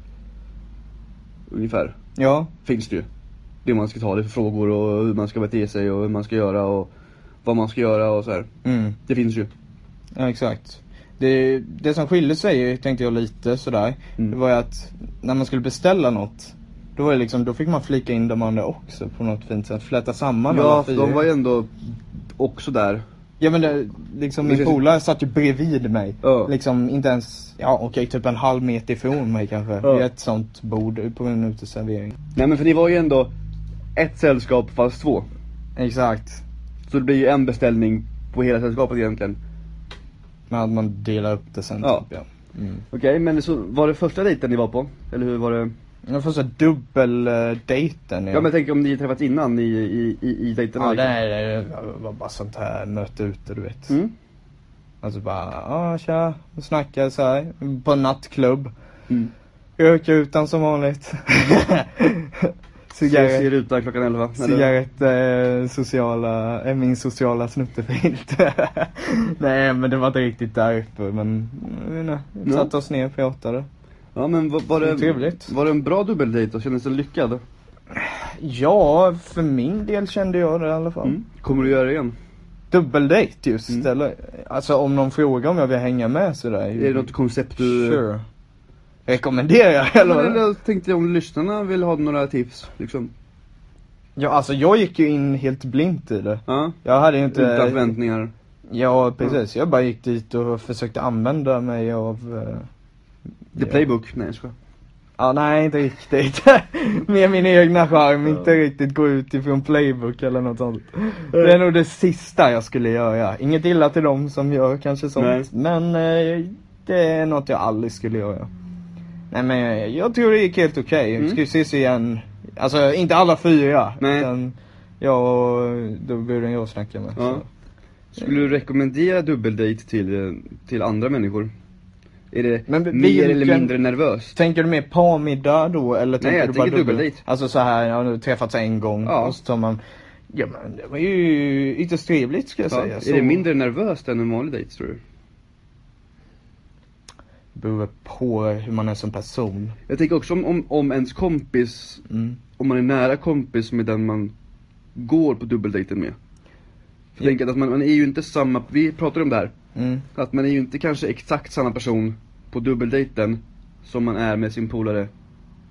Speaker 1: Ungefär,
Speaker 2: Ja,
Speaker 1: finns det ju. Det man ska ta, det för frågor och hur man ska bete sig och hur man ska göra och vad man ska göra och så här.
Speaker 2: mm.
Speaker 1: Det finns ju.
Speaker 2: Ja, exakt. Det, det som skilde sig, tänkte jag lite sådär,
Speaker 1: Mm.
Speaker 2: det var ju att när man skulle beställa något, då var det liksom, då fick man flika in de andra också på något fint sätt, fläta samman
Speaker 1: Ja,
Speaker 2: alla
Speaker 1: för
Speaker 2: fyra.
Speaker 1: de var ju ändå också där.
Speaker 2: Ja men det, liksom
Speaker 1: Det
Speaker 2: min
Speaker 1: känns-
Speaker 2: polare satt ju bredvid mig.
Speaker 1: Ja.
Speaker 2: Liksom inte ens, ja okej typ en halv meter ifrån mig kanske.
Speaker 1: Ja.
Speaker 2: Vid ett sånt bord på en uteservering.
Speaker 1: Nej men för ni var ju ändå ett sällskap fast två.
Speaker 2: Exakt.
Speaker 1: Så det blir ju en beställning på hela sällskapet egentligen.
Speaker 2: Men att man delar upp det sen
Speaker 1: Ja.
Speaker 2: typ ja.
Speaker 1: Okej, men så var det första dejten ni var på? Eller hur var det?
Speaker 2: Den första eh, dubbeldejten.
Speaker 1: Ja, men jag tänker om ni träffats innan i, i, i, i dejterna?
Speaker 2: ja, det,
Speaker 1: liksom.
Speaker 2: är- eh, det var bara sånt här möte ute du vet.
Speaker 1: Mm.
Speaker 2: Alltså bara, ja tja, och snackade så här på en nattklubb.
Speaker 1: Mm.
Speaker 2: Röka utan
Speaker 1: (laughs)
Speaker 2: som vanligt.
Speaker 1: Cigarett.
Speaker 2: Cigarett,
Speaker 1: utan klockan 11.
Speaker 2: cigarett eh, sociala, eh, min sociala snuttefilt. (laughs) Nej men det var inte riktigt där uppe men, eh, jag vet inte, vi
Speaker 1: Ja.
Speaker 2: satte oss ner och pratade.
Speaker 1: Ja, men var, var, det,
Speaker 2: Trevligt.
Speaker 1: var det en bra dubbeldejt då? Kändes den lyckad?
Speaker 2: Ja, för min del kände jag det i alla fall.
Speaker 1: Mm. Kommer du göra det igen?
Speaker 2: Dubbeldejt just,
Speaker 1: Mm.
Speaker 2: eller? Alltså om någon frågar om jag vill hänga med sådär.
Speaker 1: Är det något koncept du...
Speaker 2: Mm.
Speaker 1: Mm.
Speaker 2: Sure. Rekommenderar (laughs) eller?
Speaker 1: Eller,
Speaker 2: vad?
Speaker 1: eller jag tänkte om lyssnarna vill ha några tips liksom.
Speaker 2: Ja, alltså jag gick ju in helt blint i det.
Speaker 1: Ja,
Speaker 2: Jag hade ju inte...
Speaker 1: utan förväntningar.
Speaker 2: Ja, precis. Jag bara gick dit och försökte använda mig av... eh,
Speaker 1: The
Speaker 2: ja.
Speaker 1: playbook. Nej, jag skojar.
Speaker 2: Ja, nej inte riktigt. (laughs) Med min egna charm, inte riktigt gå ut ifrån playbook eller något sånt. Det är nog det sista jag skulle göra. Inget illa till dem som gör kanske sånt.
Speaker 1: Nej.
Speaker 2: Men eh, det är något jag aldrig skulle göra. Nej men jag, jag tror det gick helt okej.
Speaker 1: Mm.
Speaker 2: Ska vi ses igen? Alltså inte alla fyra.
Speaker 1: Nej.
Speaker 2: Utan jag och då bruden jag snackade med.
Speaker 1: Ja.
Speaker 2: så.
Speaker 1: Skulle du rekommendera dubbeldejt till, eh, till andra människor? Är det
Speaker 2: Men vi-
Speaker 1: mer eller
Speaker 2: vilken-
Speaker 1: mindre nervöst?
Speaker 2: Tänker du mer parmiddag då eller
Speaker 1: Nej,
Speaker 2: tänker
Speaker 1: jag
Speaker 2: du bara
Speaker 1: tänker
Speaker 2: dubbel?
Speaker 1: dubbeldejt.
Speaker 2: Alltså så här, ja, nu träffats en gång
Speaker 1: Ja.
Speaker 2: och så tar man Ja men det var ju ytterst trevligt ska jag
Speaker 1: Ja,
Speaker 2: säga.
Speaker 1: är
Speaker 2: så...
Speaker 1: det mindre nervöst än en vanlig dejt tror du?
Speaker 2: Beror på hur man är som person.
Speaker 1: Jag tänker också om, om, om ens kompis,
Speaker 2: Mm.
Speaker 1: om man är nära kompis med den man går på dubbeldejten med. För jag tänker att man, man är ju inte samma, vi pratade om det här,
Speaker 2: Mm.
Speaker 1: att man är ju inte kanske exakt samma person på dubbeldejten som man är med sin polare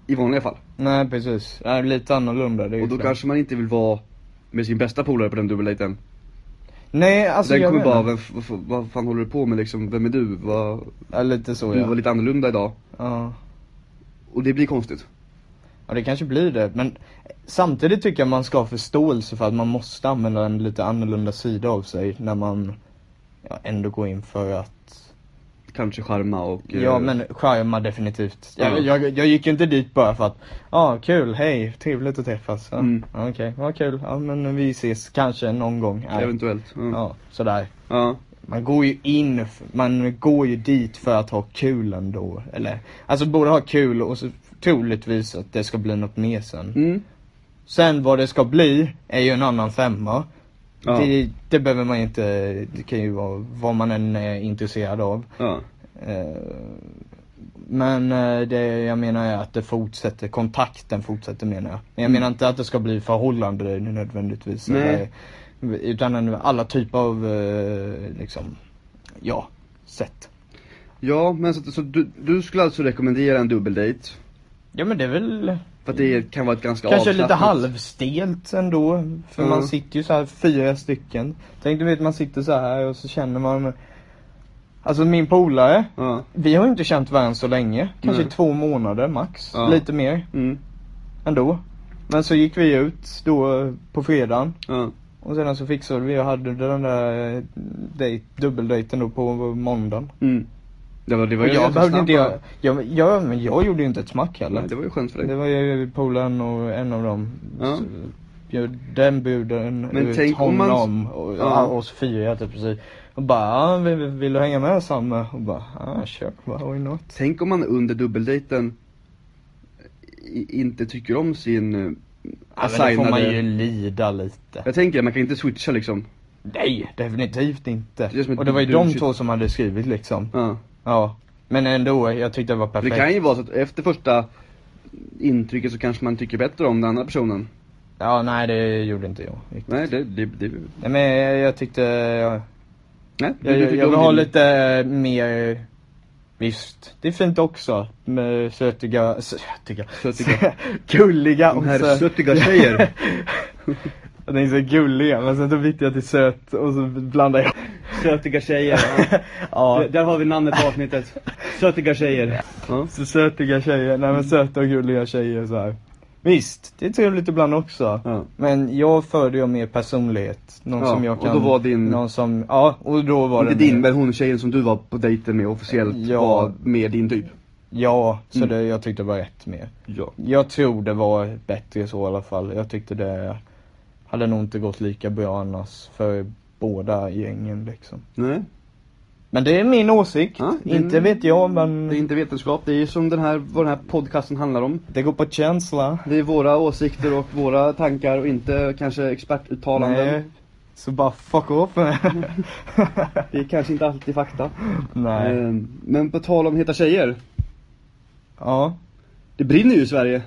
Speaker 1: i vanliga fall.
Speaker 2: Nej precis, det är lite annorlunda det är
Speaker 1: Och
Speaker 2: ju
Speaker 1: då
Speaker 2: klart.
Speaker 1: kanske man inte vill vara med sin bästa polare på den dubbeldejten.
Speaker 2: Nej alltså
Speaker 1: den
Speaker 2: jag
Speaker 1: kommer
Speaker 2: menar.
Speaker 1: bara, vem, f- f- vad fan håller du på med liksom, vem är du? Vad,
Speaker 2: Ja, lite så
Speaker 1: Du
Speaker 2: ja.
Speaker 1: var lite annorlunda idag.
Speaker 2: ja.
Speaker 1: Och det blir konstigt.
Speaker 2: Ja det kanske blir det men samtidigt tycker jag man ska ha förståelse för att man måste använda en lite annorlunda sida av sig när man ja, ändå går in för att
Speaker 1: Kanske charma och...
Speaker 2: Ja
Speaker 1: eh,
Speaker 2: men charma definitivt. Jag,
Speaker 1: Ja.
Speaker 2: jag, jag gick ju inte dit bara för att, ja ah, kul, hej, trevligt att träffas. Ja,
Speaker 1: Mm.
Speaker 2: Ja, okej, vad kul, ja men vi ses kanske någon gång. Nej.
Speaker 1: Eventuellt. Ja.
Speaker 2: Ja, sådär.
Speaker 1: Ja.
Speaker 2: Man går ju in, f- man går ju dit för att ha kul ändå. Eller, alltså både ha kul och så troligtvis att det ska bli något mer sen.
Speaker 1: Mm.
Speaker 2: Sen vad det ska bli är ju en annan femma.
Speaker 1: Ja.
Speaker 2: Det, det behöver man inte, det kan ju vara vad man än är intresserad av.
Speaker 1: ja.
Speaker 2: Eh, Men eh, det jag menar är att det fortsätter, kontakten fortsätter menar jag. Men jag menar inte att det ska bli förhållande nödvändigtvis.
Speaker 1: Nej.
Speaker 2: Eller, utan en- alla typer av, eh, liksom, ja, sätt.
Speaker 1: Ja, men så, så du, du skulle alltså rekommendera en dubbeldejt?
Speaker 2: Ja men det är väl
Speaker 1: För att det kan vara ett ganska
Speaker 2: Mm. kanske lite
Speaker 1: avslappnat-
Speaker 2: halvstelt ändå. För
Speaker 1: Mm.
Speaker 2: man sitter ju så här fyra stycken. Tänk du vet man sitter så här och så känner man Alltså min polare,
Speaker 1: Ja.
Speaker 2: vi har ju inte känt varandra så länge. Kanske
Speaker 1: Nej.
Speaker 2: två månader max,
Speaker 1: Ja.
Speaker 2: lite mer.
Speaker 1: Mm.
Speaker 2: ändå. Men så gick vi ut då på fredagen
Speaker 1: Ja.
Speaker 2: och sedan så fixade vi och hade den där eh, dejt, dubbeldejten då på måndagen.
Speaker 1: Mm. Det var, det var
Speaker 2: Och
Speaker 1: ju
Speaker 2: jag
Speaker 1: ganska
Speaker 2: behövde
Speaker 1: snabbt
Speaker 2: inte
Speaker 1: bara.
Speaker 2: göra, jag, jag, men jag gjorde ju inte ett smack heller.
Speaker 1: Nej, det var ju skönt för
Speaker 2: Det
Speaker 1: dig.
Speaker 2: var ju polaren och en av dem.
Speaker 1: Ja.
Speaker 2: Så Bjöd den buden
Speaker 1: Men
Speaker 2: ut
Speaker 1: tänk om
Speaker 2: honom
Speaker 1: man-
Speaker 2: och
Speaker 1: Ja.
Speaker 2: ja. oss fyra typ precis. Och bara, ja, vill, vill du hänga med Samme? Och bara, ja kör, why not?
Speaker 1: Tänk om man under dubbeldejten i- inte tycker om sin eh,
Speaker 2: Ja, men då Alltså, får man
Speaker 1: assignade-
Speaker 2: ju lida lite.
Speaker 1: Jag tänker, man kan inte switcha liksom.
Speaker 2: Nej, definitivt inte.
Speaker 1: Det är som ett
Speaker 2: och det var ju
Speaker 1: dumt
Speaker 2: de
Speaker 1: shit.
Speaker 2: två som hade skrivit liksom.
Speaker 1: Ja.
Speaker 2: Ja. Men ändå, jag tyckte det var
Speaker 1: För
Speaker 2: perfekt.
Speaker 1: det kan ju vara så att efter första intrycket så kanske man tycker bättre om den andra personen.
Speaker 2: Ja, nej det gjorde inte jag. riktigt.
Speaker 1: Nej, det... det, det...
Speaker 2: Nej men jag, jag tyckte, jag,
Speaker 1: Nej, du-
Speaker 2: jag,
Speaker 1: du
Speaker 2: jag,
Speaker 1: tycker
Speaker 2: jag
Speaker 1: om
Speaker 2: vill ha
Speaker 1: din-
Speaker 2: lite eh, mer, visst. Det är fint också med sötiga, sötiga,
Speaker 1: (laughs) Sötiga.
Speaker 2: (laughs) gulliga
Speaker 1: De
Speaker 2: och
Speaker 1: här
Speaker 2: sö- (laughs)
Speaker 1: sötiga tjejer.
Speaker 2: Jag tänkte säga gulliga, men sen då bytte jag till söt och så blandade jag.
Speaker 1: Sötiga (laughs) tjejer.
Speaker 2: Ja.
Speaker 1: Där har vi namnet på avsnittet. Sötiga tjejer. Ja. Mm.
Speaker 2: Så sötiga tjejer, nej men söta och gulliga tjejer så här. Visst, det är trevligt ibland också.
Speaker 1: Ja.
Speaker 2: Men jag föredrar mer personlighet. Någon
Speaker 1: Ja,
Speaker 2: som jag
Speaker 1: och
Speaker 2: kan...
Speaker 1: då var din-
Speaker 2: Någon som, ja, och då var
Speaker 1: Inte
Speaker 2: det mer-
Speaker 1: din, men hon tjejen som du var på dejten med officiellt
Speaker 2: Ja.
Speaker 1: var mer din typ.
Speaker 2: Ja, så
Speaker 1: Mm.
Speaker 2: det, jag tyckte det var rätt mer.
Speaker 1: Ja.
Speaker 2: Jag tror det var bättre så i alla fall. Jag tyckte det hade nog inte gått lika bra annars för båda gängen liksom.
Speaker 1: Nej,
Speaker 2: Men det är min åsikt.
Speaker 1: Ja, din-
Speaker 2: Inte vet jag men
Speaker 1: det är inte vetenskap. Det är som den här, vad den här podcasten handlar om.
Speaker 2: det går på känsla.
Speaker 1: Det är våra åsikter och våra tankar och inte kanske expertuttalanden.
Speaker 2: Nej. Så bara
Speaker 1: (laughs)
Speaker 2: fuck off.
Speaker 1: Det är kanske inte alltid fakta.
Speaker 2: Nej.
Speaker 1: Eh, Men på tal om heta tjejer.
Speaker 2: Ja.
Speaker 1: Det brinner ju i Sverige.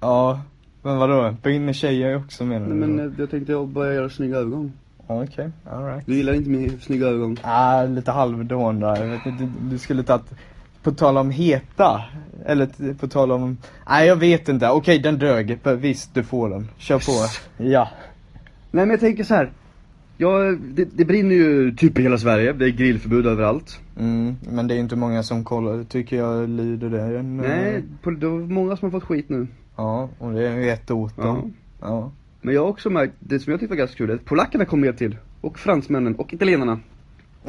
Speaker 2: Ja. Men vadå? Brinner tjejer också menar du?
Speaker 1: Nej, Men
Speaker 2: då?
Speaker 1: eh, jag tänkte jag börjar göra snygga övergång.
Speaker 2: Ja, Okej, alright.
Speaker 1: Du gillar inte min snygga övergång.
Speaker 2: Ah, lite halvdån där. Jag vet inte, du, du skulle tagit, på tal om heta, eller t- på tal om, nej jag vet inte. Okej den dög, För visst du får den. Kör på. Ja.
Speaker 1: Nej men jag tänker så här. Ja, det, det brinner ju typ i hela Sverige. Det är grillförbud överallt.
Speaker 2: Mm, men det är inte många som kollar, tycker jag lyder det. Men, eh,
Speaker 1: Nej, på, det var många som har fått skit nu.
Speaker 2: Ja, och det är rätt åt dem. Ja.
Speaker 1: Men jag har också märkt, det som jag tyckte var ganska kul, är att polackerna kom med till. Och fransmännen och italienarna.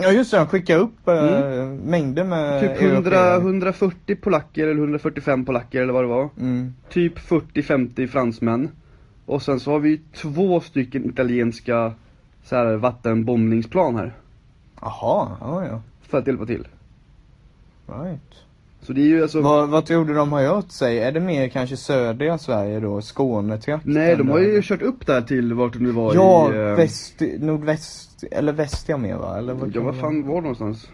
Speaker 2: Ja just det, de skickar upp eh,
Speaker 1: Mm.
Speaker 2: mängder med
Speaker 1: Typ 100,
Speaker 2: européer.
Speaker 1: 140 polacker eller 145 polacker eller vad det var.
Speaker 2: Mm.
Speaker 1: Typ 40-50 fransmän. Och sen så har vi två stycken italienska så här, vattenbombningsplan här.
Speaker 2: Jaha, ja ja.
Speaker 1: För att hjälpa till.
Speaker 2: Right.
Speaker 1: Så det är ju alltså...
Speaker 2: Vad, vad tror du de har gjort sig? Är det mer kanske södra Sverige då? Skånetrakten?
Speaker 1: Nej, de har
Speaker 2: där?
Speaker 1: ju kört upp där till vart de nu var
Speaker 2: Ja,
Speaker 1: i... eh,
Speaker 2: väst, nordväst, eller västra mer va? Eller vad
Speaker 1: Ja,
Speaker 2: kan
Speaker 1: vad
Speaker 2: det
Speaker 1: fan
Speaker 2: vara?
Speaker 1: var det någonstans?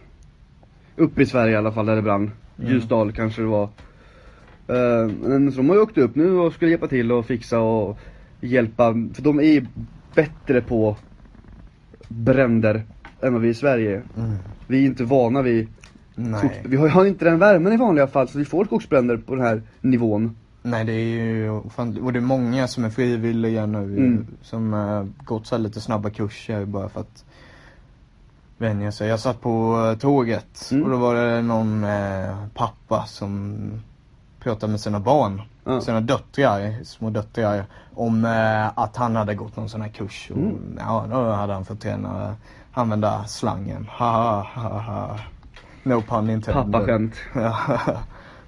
Speaker 1: Uppe i Sverige i alla fall, där det brann. Ljusdal kanske det var. Eh, Men så de har ju åkt upp nu och skulle hjälpa till och fixa och hjälpa. För de är ju bättre på bränder än vad vi är i Sverige.
Speaker 2: Mm.
Speaker 1: Vi är inte vana vid skogs...
Speaker 2: Nej.
Speaker 1: Vi har har inte den värmen i vanliga fall så vi får skogsbränder på den här nivån.
Speaker 2: Nej, det är ju ofantligt. Och det är många som är frivilliga nu.
Speaker 1: Mm.
Speaker 2: Som eh, gått så här lite snabba kurser bara för att vänja sig. Jag satt på eh, tåget
Speaker 1: Mm.
Speaker 2: och då var det någon eh, pappa som pratade med sina barn.
Speaker 1: Ja.
Speaker 2: Sina döttrar, små döttrar. Om eh, att han hade gått någon sån här kurs. Och,
Speaker 1: Mm.
Speaker 2: Ja, då hade han fått träna använda slangen. Ha, ha, ha, ha. No pun intended.
Speaker 1: Pappaskämt.
Speaker 2: Ja. (laughs)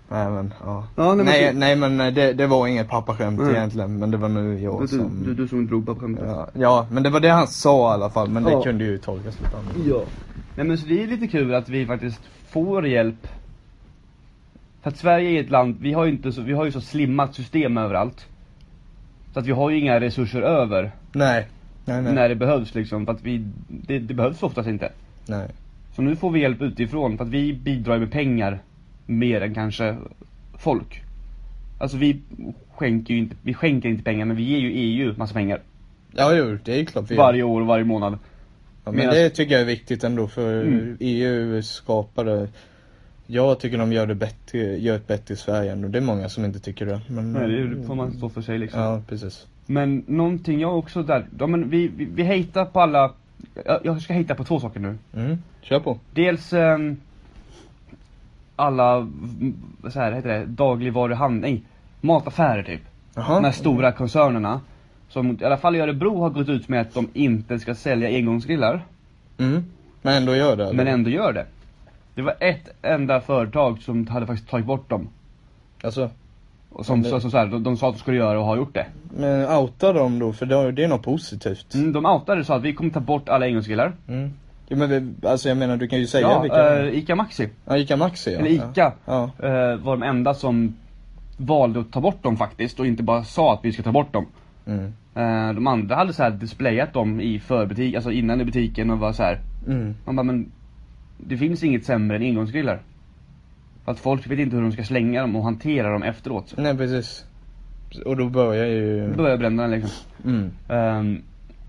Speaker 2: Nej men, ja.
Speaker 1: Ja, nej, men
Speaker 2: nej, nej,
Speaker 1: du-
Speaker 2: men eh, det, det var inget pappaskämt
Speaker 1: Nej.
Speaker 2: egentligen, men det var nu jag
Speaker 1: Du,
Speaker 2: som...
Speaker 1: du, du som drog pappaskämtet.
Speaker 2: Ja, ja, men det var det han sa i alla fall, men
Speaker 1: Ja.
Speaker 2: det kunde ju tolkas lite annorlunda.
Speaker 1: Ja. Nej men så det är lite kul att vi faktiskt får hjälp. För att Sverige är ett land, vi har ju, inte så, vi har ju så slimmat system överallt. Så att vi har ju inga resurser över
Speaker 2: Nej. Nej, nej.
Speaker 1: när det behövs liksom. För att vi, det, det behövs oftast inte.
Speaker 2: nej.
Speaker 1: Så nu får vi hjälp utifrån för att vi bidrar ju med pengar mer än kanske folk. Alltså vi skänker ju inte, vi skänker inte pengar men vi ger ju EU massa pengar.
Speaker 2: Ja, jo, det är klart vi gör.
Speaker 1: Varje år och varje månad.
Speaker 2: Ja, men
Speaker 1: Medan-
Speaker 2: det tycker jag är viktigt ändå för
Speaker 1: Mm.
Speaker 2: EU skapade jag tycker de gör det bättre, gör ett bättre i Sverige ändå. Det är många som inte tycker det. Men,
Speaker 1: Nej, det får man stå för sig liksom.
Speaker 2: Ja, precis.
Speaker 1: Men någonting jag också där, ja, men vi, vi, vi hatar på alla, jag, jag ska hata på två saker nu.
Speaker 2: Mm. Kör på.
Speaker 1: Dels ehm, alla, mm, så här heter det, dagligvaruhandel, nej, mataffärer typ.
Speaker 2: Jaha.
Speaker 1: De här stora koncernerna. Som i alla fall i Örebro har gått ut med att de inte ska sälja engångsgrillar.
Speaker 2: Mm. Men ändå gör det. eller?
Speaker 1: Men ändå gör det. Det var ett enda företag som hade faktiskt tagit bort dem.
Speaker 2: Alltså.
Speaker 1: Och som,
Speaker 2: Men-
Speaker 1: så, så, så här, de, de sa att de skulle göra och har gjort det.
Speaker 2: Men outa dem då, för det har- det är något positivt.
Speaker 1: Mm, de outade och sa att vi kommer ta bort alla engångsgrillar.
Speaker 2: Mm. Ja, men vi, alltså jag menar du kan ju säga
Speaker 1: Ja,
Speaker 2: vilka.
Speaker 1: eh, Ica Maxi.
Speaker 2: ja, Ica Maxi ja.
Speaker 1: Eller Ica
Speaker 2: Ja.
Speaker 1: eh, var de enda som valde att ta bort dem faktiskt och inte bara sa att vi ska ta bort dem.
Speaker 2: ja. Mm.
Speaker 1: Eh, de andra hade så här displayat dem i förbutik, alltså innan i butiken och var så här.
Speaker 2: Mm.
Speaker 1: Man bara, men det finns inget sämre än engångsgrillar. För att folk vet inte hur de ska slänga dem och hantera dem efteråt.
Speaker 2: Nej precis. Och då börjar ju...
Speaker 1: Då börjar bränderna liksom.
Speaker 2: Mm.
Speaker 1: Ehm,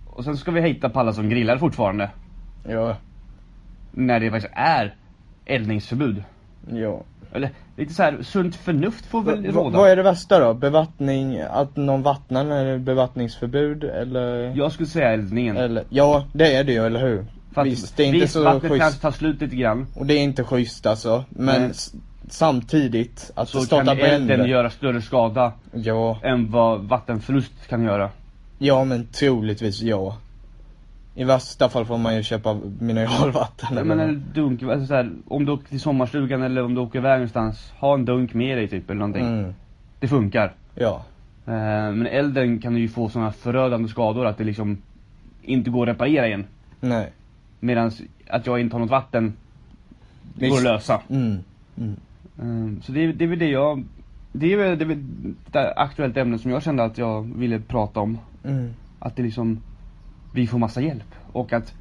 Speaker 1: och sen ska vi hitta på alla som grillar fortfarande.
Speaker 2: Ja.
Speaker 1: När det faktiskt är eldningsförbud.
Speaker 2: Ja.
Speaker 1: Eller lite så här sunt förnuft får
Speaker 2: Va,
Speaker 1: väl
Speaker 2: va,
Speaker 1: råda.
Speaker 2: vad är det värsta då? Bevattning, att någon vattnar när det är bevattningsförbud eller?
Speaker 1: Jag skulle säga eldningen.
Speaker 2: Eller, ja det är det ju, eller hur?
Speaker 1: För att
Speaker 2: Visst, det är inte så
Speaker 1: vattnet
Speaker 2: schysst.
Speaker 1: kanske tar slut lite grann.
Speaker 2: Och det är inte schysst alltså. Men
Speaker 1: Nej.
Speaker 2: s- samtidigt, att
Speaker 3: Så
Speaker 2: starta
Speaker 3: kan elden
Speaker 2: bränder.
Speaker 3: göra större skada
Speaker 2: Ja,
Speaker 3: än vad vattenförlust kan göra.
Speaker 2: ja men troligtvis ja. I värsta fall får man ju köpa mineralvatten
Speaker 3: Men en dunk, alltså så här, om du åker till sommarstugan eller om du åker iväg någonstans, ha en dunk med dig typ eller någonting.
Speaker 2: mm,
Speaker 3: Det funkar.
Speaker 2: Ja,
Speaker 3: Eh, Men elden kan ju få sådana förödande skador att det liksom inte går att reparera igen.
Speaker 2: nej.
Speaker 3: Medan att jag inte har något vatten, det går
Speaker 2: Visst.
Speaker 3: att lösa.
Speaker 2: Mm.
Speaker 3: Eh, Så det, är- det är väl det jag, det är väl det, är väl ett aktuellt ämne som jag kände att jag ville prata om.
Speaker 2: Mm.
Speaker 3: Att det liksom, vi får massa hjälp. Och att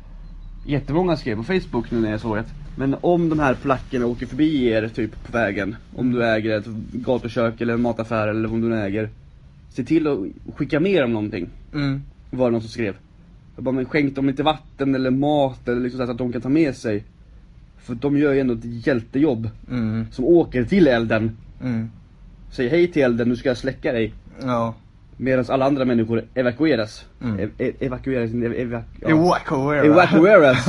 Speaker 3: jättemånga skrev på Facebook nu när jag såg att
Speaker 1: Men om de här polackerna åker förbi er typ på vägen, om du äger ett gatukök eller en mataffär eller om du nu äger. Se till att skicka med dem någonting,
Speaker 2: Mm.
Speaker 1: var det någon som skrev. Jag bara, men skänk dem lite vatten eller mat eller liksom så att de kan ta med sig. För de gör ju ändå ett hjältejobb.
Speaker 2: Mm.
Speaker 1: Som åker till elden,
Speaker 2: Mm.
Speaker 1: säger hej till elden, nu ska jag släcka dig.
Speaker 2: Ja.
Speaker 1: Medan alla andra människor evakueras.
Speaker 2: Mm.
Speaker 1: E- e- evakueras, inte ev- evak- ja.
Speaker 2: Evacuera.
Speaker 1: Evacueras.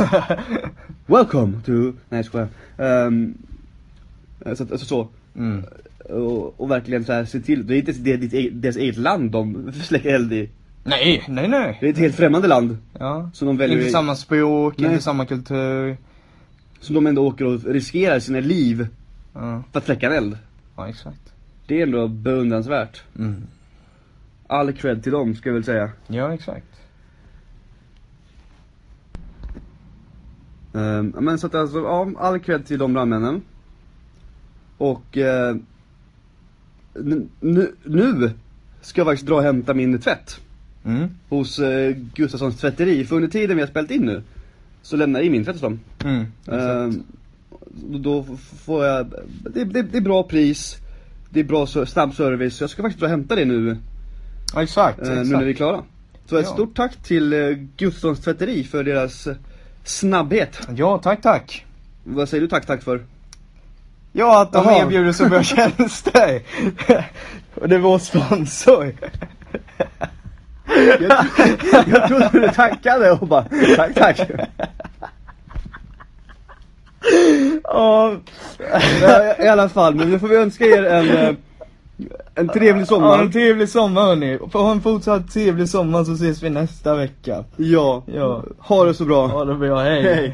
Speaker 1: (laughs) Welcome to... Nej jag skojar. Ehm, så, att- alltså så.
Speaker 2: (laughs) mm.
Speaker 1: Och, och verkligen så här, se till, det är inte ens det, ditt, eget- deras eget land de släcker eld i.
Speaker 2: Nej, nej,
Speaker 1: Det
Speaker 2: nej.
Speaker 1: är ett helt främmande land.
Speaker 2: Ja.
Speaker 1: Som de väljer,
Speaker 2: Inte samma språk,
Speaker 1: Nej.
Speaker 2: inte samma kultur.
Speaker 1: som de ändå åker och riskerar sina liv
Speaker 2: Ja,
Speaker 1: för att släcka en eld.
Speaker 2: ja exakt.
Speaker 1: Det är ändå beundransvärt.
Speaker 2: Mm.
Speaker 1: All cred till dem ska jag väl säga.
Speaker 2: Ja, exakt.
Speaker 1: Ehm, men så att alltså, ja, all cred till de brandmännen. Och eh, nu- nu, nu ska jag faktiskt dra och hämta min tvätt
Speaker 2: Mm.
Speaker 1: hos eh, Gustafssons tvätteri. För under tiden vi har spelat in nu så lämnar jag in min tvätt hos dem.
Speaker 2: Mm. Exakt.
Speaker 1: Ehm, då- då f- får jag, det, det, det är bra pris, det är bra ser- snabb service. Så jag ska faktiskt dra och hämta det nu,
Speaker 2: Ja, exakt.
Speaker 1: eh, nu när vi är
Speaker 2: exakt.
Speaker 1: klara. Så ett
Speaker 2: Ja.
Speaker 1: stort tack till eh, Gustafssons tvätteri för deras eh, snabbhet.
Speaker 2: Ja, tack, tack.
Speaker 1: Vad säger du tack tack för?
Speaker 2: Ja, att de
Speaker 1: Jaha.
Speaker 2: erbjuder så bra tjänster. Och det är vår sponsor.
Speaker 1: Jag, (laughs) jag trodde du tackade och bara tack tack.
Speaker 2: Ja,
Speaker 1: Ja, I alla fall, men nu får vi önska er en, eh, en trevlig
Speaker 2: ja, en
Speaker 1: sommar.
Speaker 2: trevlig sommar hörni. Ha en fortsatt trevlig sommar så ses vi nästa vecka.
Speaker 1: Ja,
Speaker 2: Ja.
Speaker 1: ha det så bra.
Speaker 2: Ha det bra, hej.
Speaker 1: Hej.